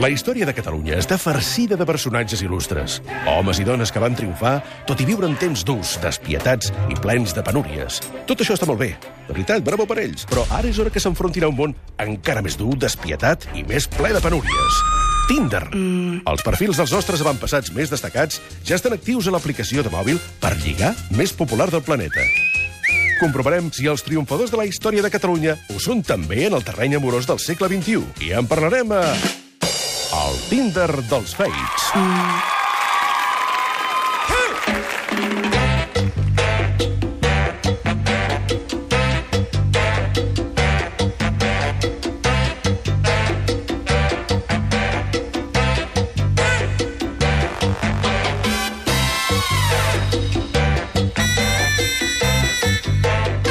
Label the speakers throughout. Speaker 1: La història de Catalunya està farcida de personatges il·lustres. Homes i dones que van triomfar, tot i viure en temps durs, despietats i plens de penúries. Tot això està molt bé. De veritat, bravo per ells. Però ara és hora que s'enfrontin a un món encara més dur, despietat i més ple de penúries. Tinder. Mm. Els perfils dels nostres avantpassats més destacats ja estan actius a l'aplicació de mòbil per lligar més popular del planeta. Comprovarem si els triomfadors de la història de Catalunya ho són també en el terreny amorós del segle XXI. I en parlarem a... El Tinder dels Fates.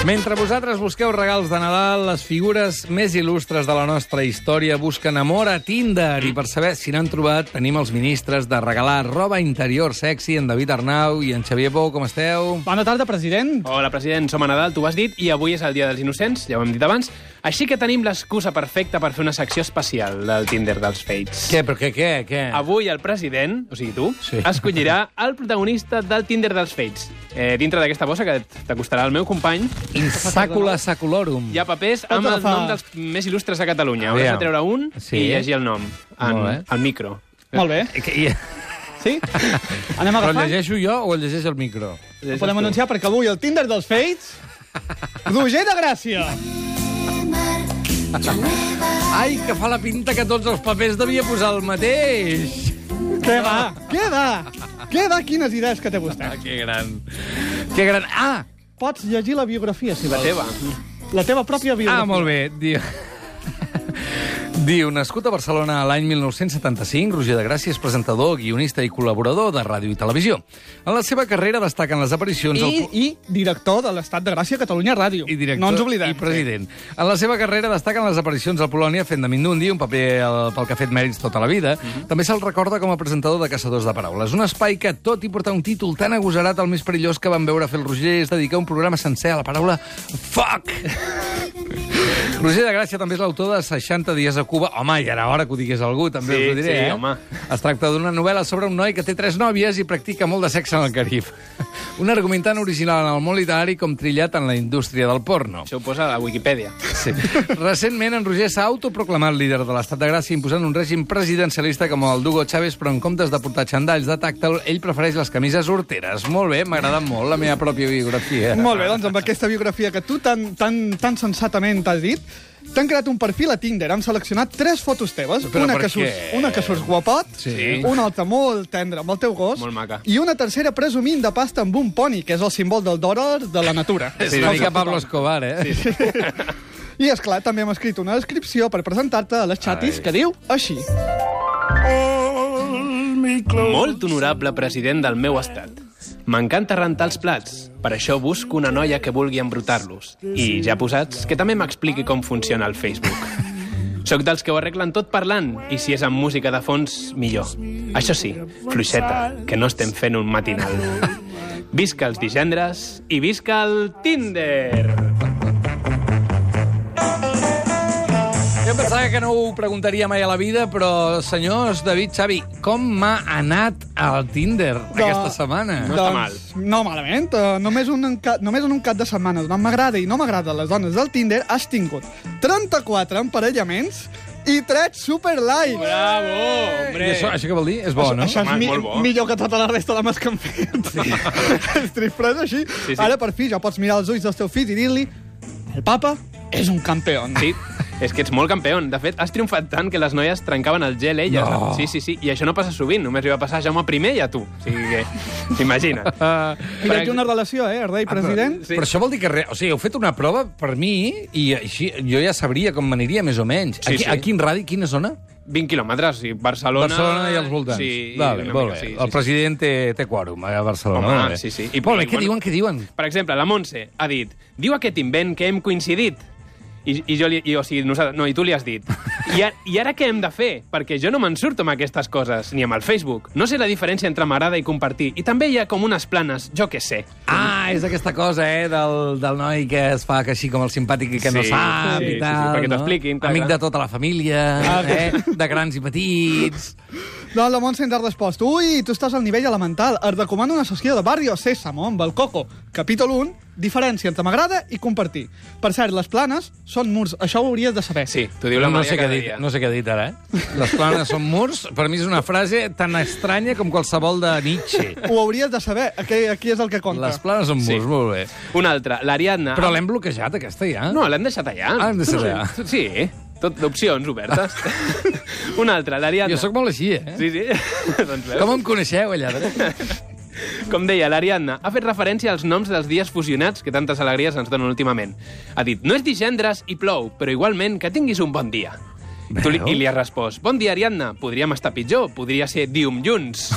Speaker 2: Mentre vosaltres busqueu regals de Nadal, les figures més il·lustres de la nostra història busquen amor a Tinder. I per saber si n'han trobat, tenim els ministres de regalar roba interior sexy, en David Arnau i en Xavier Pou. Com esteu?
Speaker 3: Bona tarda, president.
Speaker 4: Hola, president, som a Nadal, tu ho has dit, i avui és el Dia dels Innocents, ja ho hem dit abans, així que tenim l'excusa perfecta per fer una secció especial del Tinder dels Fates.
Speaker 2: Què, però què, què, què?
Speaker 4: Avui el president, o sigui tu,
Speaker 2: Sí.
Speaker 4: sí. escollirà el protagonista del Tinder dels Fates. Eh, dintre d'aquesta bossa que t'acostarà el meu company,
Speaker 2: In sacula saculorum.
Speaker 4: hi ha papers amb
Speaker 3: Escolta,
Speaker 4: el
Speaker 3: fa-
Speaker 4: nom dels més il·lustres de Catalunya.
Speaker 2: Aviam.
Speaker 4: Hauràs de treure un
Speaker 2: Sí.
Speaker 4: i llegir el nom en,
Speaker 2: Molt bé.
Speaker 4: al micro.
Speaker 3: Molt bé.
Speaker 2: Que hi ha...
Speaker 3: Sí? Anem
Speaker 2: Eh. Però el
Speaker 3: agafant?
Speaker 2: llegeixo jo o el llegeix el micro?
Speaker 3: Ho podem anunciar perquè avui el Tinder dels Fates... Roger de Gràcia.
Speaker 2: Ai, que fa la pinta que tots els papers devia posar el mateix.
Speaker 3: Què va? Què va? Què va? Quines idees que té vostè?
Speaker 2: Que gran. Que gran. Ah,
Speaker 3: Pots llegir la biografia, si
Speaker 4: La
Speaker 3: vols.
Speaker 4: teva.
Speaker 3: La teva pròpia biografia.
Speaker 2: Ah, molt bé. Diu... Diu, nascut a Barcelona l'any 1975, Roger de Gràcia és presentador, guionista i col·laborador de ràdio i televisió. En la seva carrera destaquen les aparicions...
Speaker 3: I,
Speaker 2: al-
Speaker 3: I director de l'Estat de Gràcia Catalunya Ràdio.
Speaker 2: Doncs i director
Speaker 3: no ens oblidem.
Speaker 2: i president. En la seva carrera destaquen les aparicions al Polònia fent de Mindundi, un paper al- pel que ha fet mèrits tota la vida. També se'l recorda com a presentador de Caçadors de Paraules, un espai que, tot i portar un títol tan agosarat, el més perillós que van veure fer el Roger és dedicar un programa sencer a la paraula fuck. Roger de Gràcia també és l'autor de 60 dies a Cuba. Home, i era hora que ho digués algú, també
Speaker 4: Sí,
Speaker 2: us ho diré,
Speaker 4: sí,
Speaker 2: eh?
Speaker 4: home.
Speaker 2: Es tracta d'una novel·la sobre un noi que té tres nòvies i practica molt de sexe en el Carib. Un argumentant original en el món literari com trillat en la indústria del porno.
Speaker 4: Això ho posa a la Wikipedia.
Speaker 2: Sí. Recentment, en Roger s'ha autoproclamat líder de l'estat de Gràcia imposant un règim presidencialista com el d'Hugo Chávez, però en comptes de portar xandalls de tacte, ell prefereix les camises horteres. Molt bé, m'ha agradat molt la meva pròpia biografia.
Speaker 3: Molt bé, doncs amb aquesta biografia que tu tan, tan, tan sensatament t'has dit, t'han creat un perfil a Tinder. Han seleccionat tres fotos teves.
Speaker 2: Però
Speaker 3: una,
Speaker 2: per
Speaker 3: que
Speaker 2: què?
Speaker 3: surts, una que surts guapot,
Speaker 2: Sí.
Speaker 3: una altra molt tendra amb el teu gos,
Speaker 4: Molt maca.
Speaker 3: i una tercera presumint de pasta amb un poni, que és el símbol del dòlar de la natura.
Speaker 2: És una mica Pablo Escobar, eh? Sí.
Speaker 3: I, és clar també hem escrit una descripció per presentar-te a les xatis
Speaker 2: Ai.
Speaker 3: que diu així.
Speaker 4: Molt honorable president del meu estat. M'encanta rentar els plats, per això busco una noia que vulgui embrutar-los. I, ja posats, que també m'expliqui com funciona el Facebook. Soc dels que ho arreglen tot parlant, i si és amb música de fons, millor. Això sí, fluixeta, que no estem fent un matinal. Visca els divendres i visca el Tinder!
Speaker 2: Jo pensava que no ho preguntaria mai a la vida, però, senyors, David, Xavi, com m'ha anat el Tinder aquesta setmana?
Speaker 4: No està mal.
Speaker 3: Doncs, No malament. eh, només, un enca... només en un cap de setmana donant m'agrada i no m'agrada les dones del Tinder has tingut 34 emparellaments i 3 superlikes.
Speaker 4: Bravo,
Speaker 2: I això, això què vol dir? És bo, no?
Speaker 3: Això és
Speaker 4: Home,
Speaker 3: mi
Speaker 4: molt bo.
Speaker 3: millor que tota la resta de les que hem fet. Sí. és trifres així. Sí,
Speaker 4: Sí,
Speaker 3: sí.
Speaker 4: sí.
Speaker 3: Ara, per fi, ja pots mirar als ulls del teu fill i dir-li el papa és un campeón.
Speaker 4: Sí, és que ets molt campeón. De fet, has triomfat tant que les noies trencaven el gel elles.
Speaker 2: No.
Speaker 4: Sí, sí, sí. I això no passa sovint. Només li va passar a Jaume I i a tu. O sigui que, imagina.
Speaker 2: Ah,
Speaker 3: I d'aquí una relació, eh, rei-president.
Speaker 2: Però això vol dir que... Re... O sigui, heu fet una prova per mi i així jo ja sabria com m'aniria més o menys.
Speaker 4: Sí,
Speaker 2: aquí,
Speaker 4: sí.
Speaker 2: a quin radi, quina zona?
Speaker 4: 20 quilòmetres, o sigui, Barcelona...
Speaker 2: Barcelona i els voltants.
Speaker 4: Sí,
Speaker 2: Vale,
Speaker 4: una
Speaker 2: molt
Speaker 4: mica,
Speaker 2: bé.
Speaker 4: sí, sí,
Speaker 2: el president té, té quòrum a Barcelona.
Speaker 4: Home,
Speaker 2: molt bé.
Speaker 4: sí, sí.
Speaker 2: I,
Speaker 4: I-
Speaker 2: molt bé,
Speaker 4: i,
Speaker 2: què
Speaker 4: bueno-
Speaker 2: diuen, què diuen?
Speaker 4: Per exemple, la Montse ha dit Diu aquest invent que hem coincidit. I, i, jo li, i, o sigui, nosaltres, no, i tu li has dit. I, a, I ara què hem de fer? Perquè jo no me'n surto amb aquestes coses, ni amb el Facebook. No sé la diferència entre m'agrada i compartir. I també hi ha com unes planes, jo què sé.
Speaker 2: Ah, és aquesta cosa, eh, del, del noi que es fa que així com el simpàtic i que no
Speaker 4: Sí,
Speaker 2: sap
Speaker 4: sí,
Speaker 2: i
Speaker 4: sí,
Speaker 2: tal.
Speaker 4: sí, perquè
Speaker 2: no?
Speaker 4: t'expliquin, clar,
Speaker 2: Amic
Speaker 4: clar. Ah,
Speaker 2: de tota la família, eh, de grans i petits...
Speaker 3: Doncs la Montse ens ha respost. Ui, tu estàs al nivell elemental. Et recomano una sessió de Barrio Sésamo amb el Coco. Capítol 1, diferència entre m'agrada i compartir. Per cert, les planes són murs. Això ho hauries de saber.
Speaker 4: Sí, t'ho diu la
Speaker 2: no,
Speaker 4: Maria
Speaker 2: sé què ha
Speaker 4: cada
Speaker 2: dit,
Speaker 4: dia.
Speaker 2: no sé què ha dit ara, eh? Les planes són murs, per mi és una frase tan estranya com qualsevol de Nietzsche.
Speaker 3: Ho hauries de saber. Aquí, aquí és el que compta.
Speaker 2: Les planes són murs,
Speaker 4: Sí.
Speaker 2: molt bé.
Speaker 4: Una altra, l'Ariadna...
Speaker 2: Però l'hem bloquejat, aquesta, ja?
Speaker 4: No, l'hem deixat allà.
Speaker 2: Ah, l'hem deixat
Speaker 4: Tu no-
Speaker 2: allà.
Speaker 4: Sí, eh? tot d'opcions obertes. Una altra, l'Ariadna...
Speaker 2: Jo sóc molt així, eh?
Speaker 4: Sí, sí. doncs veus?
Speaker 2: Com em coneixeu, allà?
Speaker 4: Com deia, l'Ariadna ha fet referència als noms dels dies fusionats que tantes alegries ens donen últimament. Ha dit, no és divendres i plou, però igualment que tinguis un bon dia. Tu li, I li has respost, bon dia, Ariadna, podríem estar pitjor, podria ser diumjuns.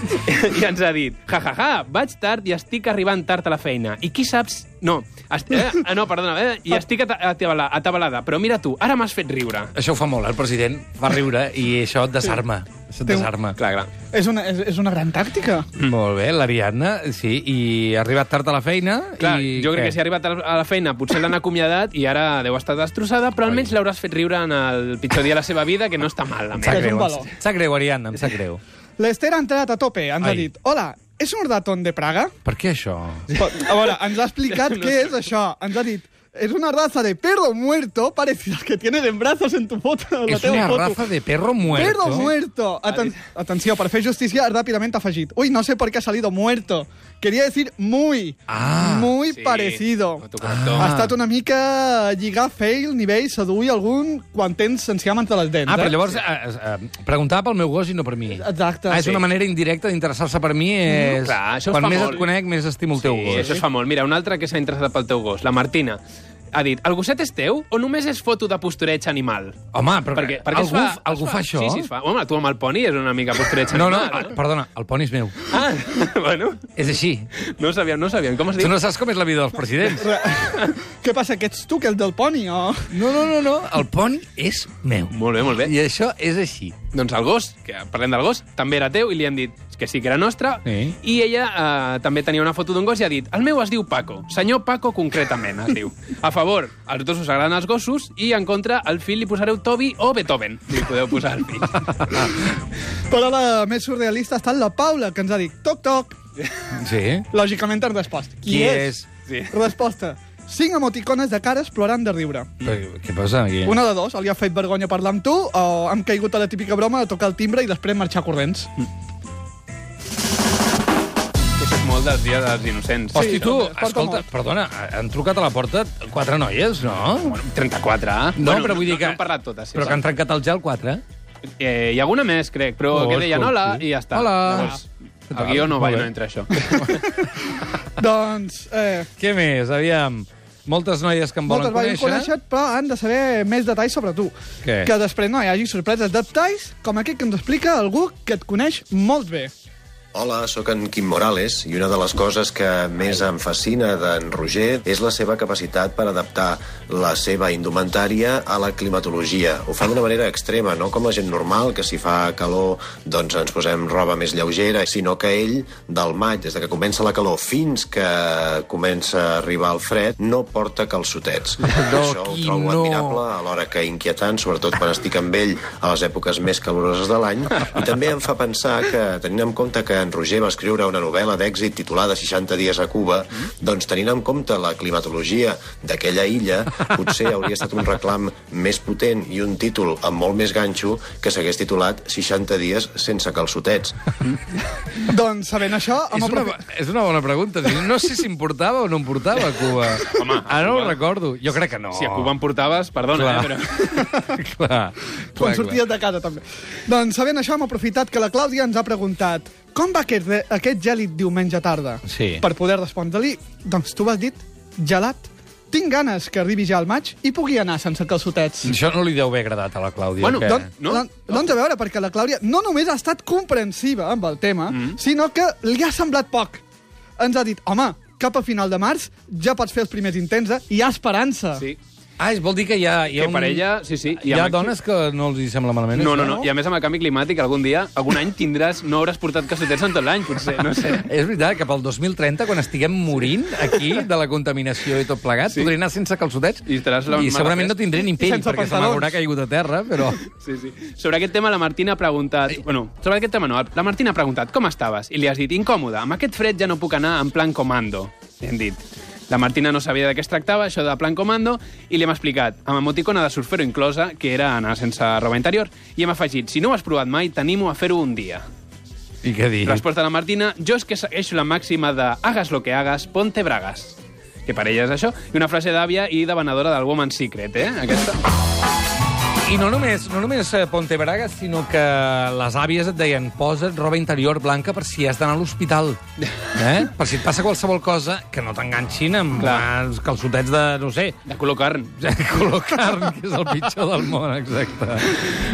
Speaker 4: I ens ha dit, ja, ja, ja, vaig tard i estic arribant tard a la feina. I qui saps... No, est... eh, ah, no perdona, eh, i estic ata- atabala- atabalada, però mira tu, ara m'has fet riure.
Speaker 2: Això ho fa molt, el president fa riure i això et desarma. Això et
Speaker 3: Té un-
Speaker 2: desarma.
Speaker 4: Clar, clar.
Speaker 3: És una, és, és una gran tàctica.
Speaker 2: Molt bé, l'Ariadna, sí, i ha arribat tard a la feina...
Speaker 4: Clar,
Speaker 2: i...
Speaker 4: jo crec
Speaker 2: què?
Speaker 4: que si ha arribat a la feina potser l'han acomiadat i ara deu estar destrossada, però almenys l'hauràs fet riure en el pitjor dia de la seva vida, que no està mal.
Speaker 2: Em sap
Speaker 4: almenys.
Speaker 3: És un
Speaker 2: greu,
Speaker 3: valor.
Speaker 2: em sap greu, Ariadna, em sap greu.
Speaker 3: L'Ester ha entrat a tope. Ens
Speaker 2: Ai.
Speaker 3: ha dit, hola, és un ratón de Praga?
Speaker 2: Per què això?
Speaker 3: Però, A veure, ens ha explicat què és això. Ens ha dit, és una raza de perro muerto parecida al que tienes en brazos en tu foto. en la
Speaker 2: És una
Speaker 3: teva foto.
Speaker 2: raza de perro muerto. eh?
Speaker 3: Perro muerto. Aten- atenció, per fer justícia, ràpidament afegit. Ui, no sé per què ha salido muerto. Quería decir muy,
Speaker 2: Ah.
Speaker 3: muy
Speaker 4: Sí,
Speaker 3: parecido.
Speaker 4: no t'ho correcto.
Speaker 3: Ha estat una mica lligar fail, nivell, seduir algun quan tens enciam entre les dents.
Speaker 2: Ah, però
Speaker 3: eh?
Speaker 2: llavors eh, eh, preguntava pel meu gos i no per mi.
Speaker 3: Exacte.
Speaker 2: Ah, és
Speaker 3: Sí.
Speaker 2: una manera indirecta d'interessar-se per mi. És...
Speaker 4: clar, això es
Speaker 2: Quan
Speaker 4: fa
Speaker 2: més
Speaker 4: molt.
Speaker 2: et conec, més estimo el teu
Speaker 4: Sí,
Speaker 2: gos.
Speaker 4: això es fa molt. Mira, una altra que s'ha interessat pel teu gos, la Martina. Ha dit, el gosset és teu o només és foto de postureig animal?
Speaker 2: Home, però
Speaker 4: es
Speaker 2: algú,
Speaker 4: fa-
Speaker 2: algú
Speaker 4: es
Speaker 2: fa, això?
Speaker 4: Sí, sí, es fa. Home, tu amb el poni és una mica postureig
Speaker 2: No,
Speaker 4: animal.
Speaker 2: no, el, perdona, el poni és meu.
Speaker 4: Ah, bueno,
Speaker 2: És així.
Speaker 4: no ho sabíem, no ho sabíem. Com es
Speaker 2: Tu
Speaker 4: diu?
Speaker 2: no saps com és la vida dels presidents.
Speaker 3: Re- Què passa, que ets tu, que el del poni, o...?
Speaker 2: No, no, no, no. el poni és meu.
Speaker 4: Molt bé, molt bé.
Speaker 2: I això és així.
Speaker 4: Doncs el gos, que parlem del gos, també era teu i li han dit que sí que era nostre.
Speaker 2: Sí.
Speaker 4: I ella eh, també tenia una foto d'un gos i ha dit el meu es diu Paco, senyor Paco concretament, es diu. A favor, als dos us agraden els gossos i en contra, al fill li posareu Toby o Beethoven. Li podeu posar al fill.
Speaker 3: Però la més surrealista ha estat la Paula, que ens ha dit toc, toc.
Speaker 2: Sí.
Speaker 3: Lògicament has respost. Qui,
Speaker 2: Qui
Speaker 3: és?
Speaker 4: és? Sí.
Speaker 3: Resposta. Cinc emoticones de cares plorant de riure.
Speaker 2: Però, què passa aquí?
Speaker 3: Una de dos, o li ha fet vergonya parlar amb tu o hem caigut a la típica broma de tocar el timbre i després marxar corrents.
Speaker 2: Mm.
Speaker 4: Això és molt dels dies dels innocents.
Speaker 2: Hosti,
Speaker 3: Sí,
Speaker 2: tu,
Speaker 3: home, es porta
Speaker 2: escolta,
Speaker 3: molt.
Speaker 2: perdona, han trucat a la porta quatre noies, no?
Speaker 4: Bueno, 34, eh?
Speaker 2: No, però vull dir que...
Speaker 4: No, no hem parlat totes. sí,
Speaker 2: però que han
Speaker 4: saps?
Speaker 2: trencat el gel quatre.
Speaker 4: Eh, hi ha alguna més, crec, però
Speaker 2: Oh,
Speaker 4: que deien
Speaker 2: escolti.
Speaker 4: hola i ja està.
Speaker 2: Hola.
Speaker 4: Llavors,
Speaker 2: Què
Speaker 4: el
Speaker 2: tal?
Speaker 4: guió no va
Speaker 2: Molt
Speaker 4: i
Speaker 2: bé.
Speaker 4: no entra això.
Speaker 3: doncs, eh,
Speaker 2: Què més? Aviam, moltes noies que em volen
Speaker 3: moltes vegades
Speaker 2: conèixer.
Speaker 3: conèixer, però han de saber més detalls sobre tu.
Speaker 2: Què?
Speaker 3: Que després no hi hagi sorpreses de detalls com aquest que ens explica algú que et coneix molt bé.
Speaker 5: Hola, sóc en Quim Morales i una de les coses que més em fascina d'en Roger és la seva capacitat per adaptar la seva indumentària a la climatologia. Ho fa d'una manera extrema, no com la gent normal, que si fa calor doncs ens posem roba més lleugera, sinó que ell, del maig, des de que comença la calor fins que comença a arribar el fred, no porta calçotets. Això ho
Speaker 2: Quim,
Speaker 5: trobo
Speaker 2: no.
Speaker 5: admirable, alhora que inquietant, sobretot quan estic amb ell a les èpoques més caloroses de l'any, i també em fa pensar que, tenint en compte que en Roger va escriure una novel·la d'èxit titulada 60 dies a Cuba, doncs tenint en compte la climatologia d'aquella illa, potser hauria estat un reclam més potent i un títol amb molt més ganxo que s'hagués titulat 60 dies sense calçotets.
Speaker 3: doncs, sabent això...
Speaker 2: És
Speaker 3: hem
Speaker 2: una,
Speaker 3: aprofi-
Speaker 2: és una bona pregunta. No sé si em portava o no em portava a Cuba.
Speaker 4: Home, a
Speaker 2: Ara no ho
Speaker 4: Cuba-
Speaker 2: recordo. Jo crec que no.
Speaker 4: Si a Cuba em portaves, perdona, eh,
Speaker 2: Clar.
Speaker 4: però...
Speaker 2: clar, clar,
Speaker 3: quan
Speaker 2: clar.
Speaker 3: sorties de casa, també. Doncs, sabent això, hem aprofitat que la Clàudia ens ha preguntat com va aquest, aquest gèlit diumenge tarda?
Speaker 2: Sí.
Speaker 3: Per poder respondre-li, doncs tu vas dit gelat. Tinc ganes que arribi ja al maig i pugui anar sense calçotets.
Speaker 2: Això no li deu haver agradat a la Clàudia.
Speaker 4: Bueno,
Speaker 2: que...
Speaker 4: doncs-
Speaker 3: No?
Speaker 4: No?
Speaker 3: Doncs a veure, perquè la Clàudia no només ha estat comprensiva amb el tema, mm. sinó que li ha semblat poc. Ens ha dit, home, cap a final de març ja pots fer els primers intents eh? hi ha esperança.
Speaker 4: Sí.
Speaker 2: Ah, és, vol dir que hi ha... Hi ha
Speaker 4: Que per ella, sí,
Speaker 2: Hi
Speaker 4: sí, hi
Speaker 2: ha,
Speaker 4: ha
Speaker 2: hi ha
Speaker 4: màxim.
Speaker 2: dones que no els hi sembla malament.
Speaker 4: No,
Speaker 2: això,
Speaker 4: no, no. I a més, amb el canvi climàtic, algun dia, algun any tindràs... No hauràs portat cassetets en tot l'any, potser, no sé.
Speaker 2: És veritat, cap al 2030, quan estiguem morint aquí de la contaminació i tot plegat, sí. podré anar sense calçotets
Speaker 4: I estaràs la
Speaker 2: i
Speaker 4: mala
Speaker 2: segurament
Speaker 4: pesta.
Speaker 2: no tindré ni
Speaker 3: I
Speaker 2: pell,
Speaker 3: sense
Speaker 2: perquè se
Speaker 3: pantalons.
Speaker 2: m'haurà caigut a terra, però...
Speaker 4: Sí, sí. Sobre aquest tema, la Martina ha preguntat... Bueno, sobre aquest tema no. La Martina ha preguntat com estaves i li has dit incòmode. Amb aquest fred ja no puc anar en plan comando. Li hem dit. La Martina no sabia de què es tractava, això de plan comando, i li hem explicat, amb emoticona de surfero inclosa, que era anar sense roba interior, i hem afegit, si no ho has provat mai, t'animo a fer-ho un dia.
Speaker 2: I què dir?
Speaker 4: Resposta de la Martina, jo és que segueixo la màxima de hagas lo que hagas, ponte bragas. Que per ella és això. I una frase d'àvia i de venedora del Woman's Secret, eh? Aquesta.
Speaker 2: I no només, no només eh, Ponte Bragas, sinó que les àvies et deien posa't roba interior blanca per si has d'anar a l'hospital. Eh? Per si et passa qualsevol cosa, que no t'enganxin amb
Speaker 4: Clar.
Speaker 2: els calçotets de, no sé,
Speaker 4: De color carn.
Speaker 2: color carn, que és el pitjor del món, exacte.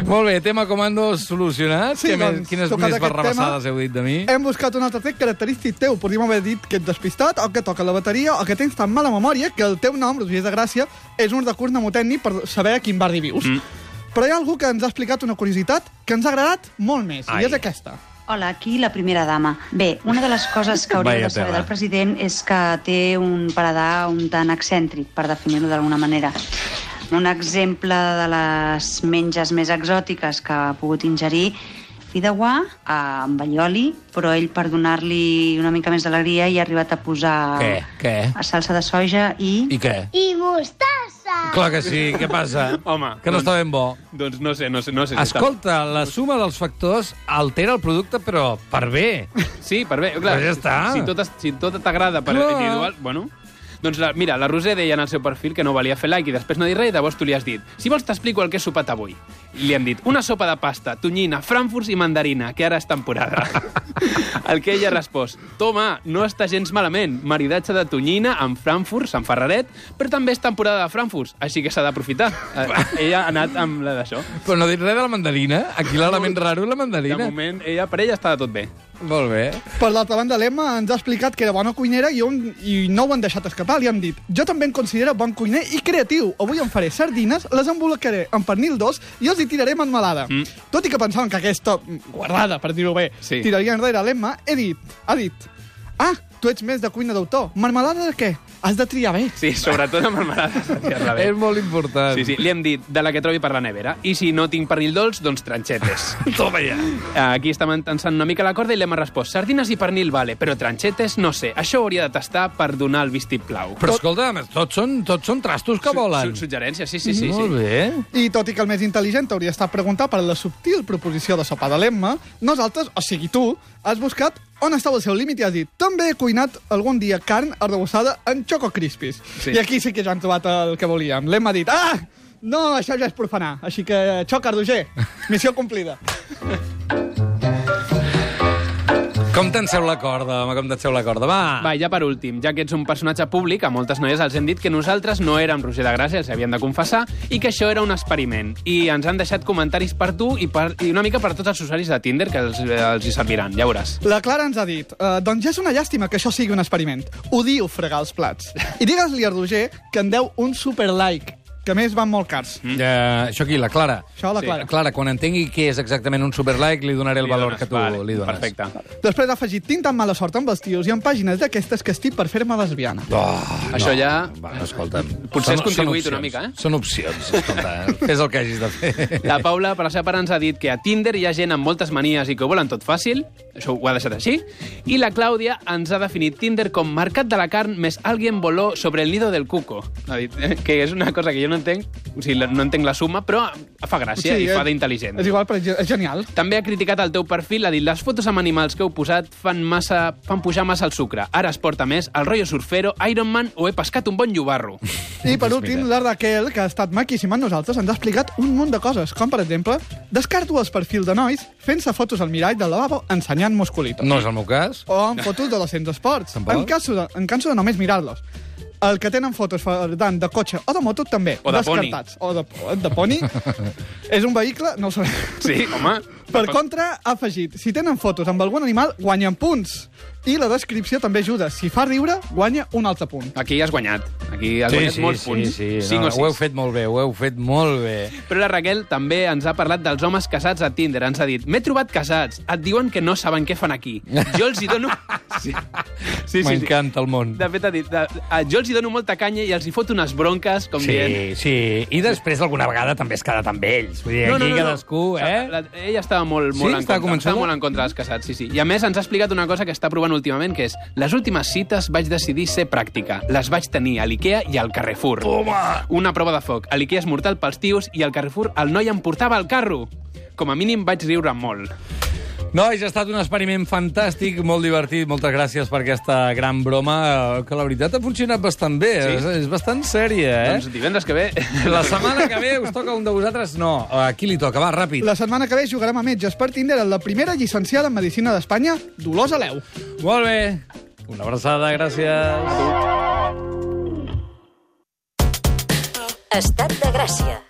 Speaker 2: Molt bé, tema comando solucionat.
Speaker 3: Sí,
Speaker 2: Què més-
Speaker 3: doncs,
Speaker 2: quines
Speaker 3: tocat
Speaker 2: més
Speaker 3: aquest
Speaker 2: barrabassades
Speaker 3: tema, Eh,
Speaker 2: heu dit de mi?
Speaker 3: Hem buscat un altre tret característic teu. Podríem haver dit que ets despistat, o que toca la bateria, o que tens tan mala memòria que el teu nom, Roger de Gràcia, és un recurs mnemotècnic per saber a quin barri vius. Però hi ha algú que ens ha explicat una curiositat que ens ha agradat molt més,
Speaker 2: Ai.
Speaker 3: i és aquesta.
Speaker 6: Hola, aquí la primera dama. Bé, una de les coses que hauríeu
Speaker 2: Vaya
Speaker 6: de saber
Speaker 2: tela.
Speaker 6: del president és que té un paradar un tant excèntric, per definir-ho d'alguna manera. Un exemple de les menges més exòtiques que ha pogut ingerir fideuà eh, amb allioli, però ell, per donar-li una mica més d'alegria, hi ha arribat a posar
Speaker 2: Què? Què?
Speaker 6: a salsa de soja i...
Speaker 2: I què?
Speaker 7: y mostaza.
Speaker 2: Clar que sí, què passa?
Speaker 4: Home,
Speaker 2: Que no
Speaker 4: doncs-
Speaker 2: està ben bo.
Speaker 4: Doncs no sé, no sé, no sé. si està-
Speaker 2: Escolta, la suma dels factors altera el producte, però per bé.
Speaker 4: Sí, per bé, clar.
Speaker 2: Però ja està.
Speaker 4: Si tot, es- si tot t'agrada per
Speaker 2: Clar.
Speaker 4: individual, bueno... Doncs la, mira, la Roser deia en el seu perfil que no valia fer like i després no dir res i llavors tu li has dit si vols t'explico el que he sopat avui. I li hem dit una sopa de pasta, tonyina, frankfurts i mandarina, que ara és temporada. el que ella ha respost, toma, no està gens malament, maridatge de tonyina amb frankfurts, amb ferraret, però també és temporada de frankfurts, així que s'ha d'aprofitar. Eh, ella ha anat amb la d'això.
Speaker 2: Però no dit res de la mandarina. Aquí l'element raro és la
Speaker 4: De
Speaker 2: mandarina.
Speaker 4: moment, ella, per ella està tot bé.
Speaker 2: Molt bé.
Speaker 3: Per l'altra banda, l'Emma ens ha explicat que era bona cuinera i, un, i no ho han deixat escapar. Li han dit, jo també em considero bon cuiner i creatiu. Avui em faré sardines, les embolicaré en pernil d'os i els hi tiraré melmelada. Mm. Tot i que pensaven que aquesta mm, guardada, per dir-ho bé,
Speaker 4: Sí.
Speaker 3: sí. tiraria enrere l'Emma, he dit, ha dit, ah, tu ets més de cuina d'autor. Marmelada de què? Has de triar bé.
Speaker 4: Sí, sobretot amb marmelades. tira-la bé.
Speaker 2: És molt important.
Speaker 4: Sí, sí, li hem dit de la que trobi per la nevera. I si no tinc pernil dolç, doncs tranxetes. Eh,
Speaker 2: Toma ja.
Speaker 4: Aquí estem tensant una mica la corda i l'hem respost. Sardines i pernil, vale, però tranxetes, no sé. Això ho hauria de tastar per donar el vistiplau.
Speaker 2: Però escolta'm, tots són, tots són trastos que volen.
Speaker 4: Su- Suggerència, sí, sí, sí. sí.
Speaker 2: Molt bé.
Speaker 3: I tot i que el més intel·ligent hauria estat preguntar per la subtil proposició de sopar de l'Emma, nosaltres, o sigui tu, has buscat on estava el seu límit i has dit també he cuinat algun dia carn arrebossada en Choco Crispis.
Speaker 4: Sí.
Speaker 3: Sí. I aquí sí que ja hem trobat el que volíem. L'Emma ha dit, ah, no, això ja és profanar. Així que, xoc, Ardoger, missió complida.
Speaker 2: Com tenseu la corda, home, com tenseu la corda. Va.
Speaker 4: Va, i ja per últim, ja que ets un personatge públic, a moltes noies els hem dit que nosaltres no érem Roger de Gràcia, els havien de confessar, i que això era un experiment. I ens han deixat comentaris per tu i, per, i una mica per tots els usuaris de Tinder que els, eh, els hi serviran, ja veuràs.
Speaker 3: La Clara ens ha dit, eh, doncs ja és una llàstima que això sigui un experiment. Odio fregar els plats. I digues-li a Ardoger que en deu un super like, que a més van molt cars.
Speaker 2: Mm. Eh, això aquí, la Clara.
Speaker 3: Això, la Clara.
Speaker 2: Clara, quan entengui què és exactament un superlike, li donaré el
Speaker 4: Li
Speaker 2: valor
Speaker 4: dones,
Speaker 2: que tu
Speaker 4: vale,
Speaker 2: li dones.
Speaker 4: Perfecte.
Speaker 3: Després ha afegit, tinc tan mala sort amb els tios i amb pàgines d'aquestes que estic per fer-me lesbiana.
Speaker 2: Oh,
Speaker 4: Això
Speaker 2: no.
Speaker 4: ja-
Speaker 2: Va, escolta'm.
Speaker 4: Potser has
Speaker 2: opcions.
Speaker 4: contribuït una mica, eh?
Speaker 2: Són opcions, escolta. Fes el que hagis de fer.
Speaker 4: La Paula, per la seva part, ens ha dit que a Tinder hi ha gent amb moltes manies i que ho volen tot fàcil. Això ho ha deixat així. I la Clàudia ens ha definit Tinder com mercat de la carn més alguien voló sobre el nido del cuco. Ha dit eh, que és una cosa que jo no entenc, o sigui, la- no entenc la suma, però fa gràcia sí, i fa
Speaker 3: eh,
Speaker 4: d'intel·ligent.
Speaker 3: És igual, però és ge- és genial.
Speaker 4: També ha criticat el teu perfil, ha dit les fotos amb animals que heu posat fan, massa, fan pujar massa el sucre. Ara es porta més el rotllo surfero, Iron Man o he pescat un bon llobarro.
Speaker 3: I per últim, la Raquel, que ha estat maquíssima amb nosaltres, ens ha explicat un munt de coses, com per exemple, descarto els perfils de nois fent-se fotos al mirall del lavabo ensenyant musculitos.
Speaker 2: No és el meu cas.
Speaker 3: O amb fotos de 200 esports.
Speaker 2: Tampoc.
Speaker 3: En caso de, en caso de només mirar-los. El que tenen fotos per tant de cotxe o de moto també.
Speaker 4: O de poni.
Speaker 3: descartats. poni. O de, o de poni. és un vehicle, no ho sabem.
Speaker 4: Sí, home.
Speaker 3: Per contra, ha afegit, si tenen fotos amb algun animal, guanyen punts. I la descripció també ajuda. Si fa riure, guanya un altre punt.
Speaker 4: Aquí has guanyat. Aquí has guanyat molts punts.
Speaker 2: Sí, sí,
Speaker 4: Cinc
Speaker 2: no,
Speaker 4: o
Speaker 2: ho heu
Speaker 4: sis.
Speaker 2: fet molt bé, ho heu fet molt bé.
Speaker 4: Però la Raquel també ens ha parlat dels homes casats a Tinder. Ens ha dit, m'he trobat casats, et diuen que no saben què fan aquí. Jo els hi dono... Sí, sí, sí, sí.
Speaker 2: M'encanta el món.
Speaker 4: De fet, ha dit, de, a, jo els hi dono molta canya i els hi foto unes bronques, com dient...
Speaker 7: Sí, sí. I després alguna vegada també es quedat amb ells. Vull dir, aquí cadascú, eh?
Speaker 4: La, ella estava molt,
Speaker 2: Sí?
Speaker 4: molt en
Speaker 2: Estava
Speaker 4: contra.
Speaker 2: convençuda?
Speaker 4: Estava molt en contra dels casats, sí, sí. I a més ens ha explicat una cosa que està provant últimament, que és les últimes cites vaig decidir ser pràctica. Les vaig tenir a l'IKEA i al Carrefour. Toma! Una prova de foc. A l'IKEA és mortal pels tios i al Carrefour el noi em portava el carro. Com a mínim vaig riure molt.
Speaker 2: Nois, ha estat un experiment fantàstic, molt divertit. Moltes gràcies per aquesta gran broma, eh, que la veritat ha funcionat bastant bé.
Speaker 4: Sí.
Speaker 2: És, és bastant sèria, eh?
Speaker 4: Doncs divendres que ve...
Speaker 2: La setmana que ve us toca un de vosaltres? No. A qui li toca? Va, ràpid.
Speaker 3: La setmana que ve jugarem a metges per Tinder amb la primera llicenciada en Medicina d'Espanya, Dolors Aleu.
Speaker 2: Molt bé. Una abraçada, gràcies.
Speaker 8: Estat de Gràcia.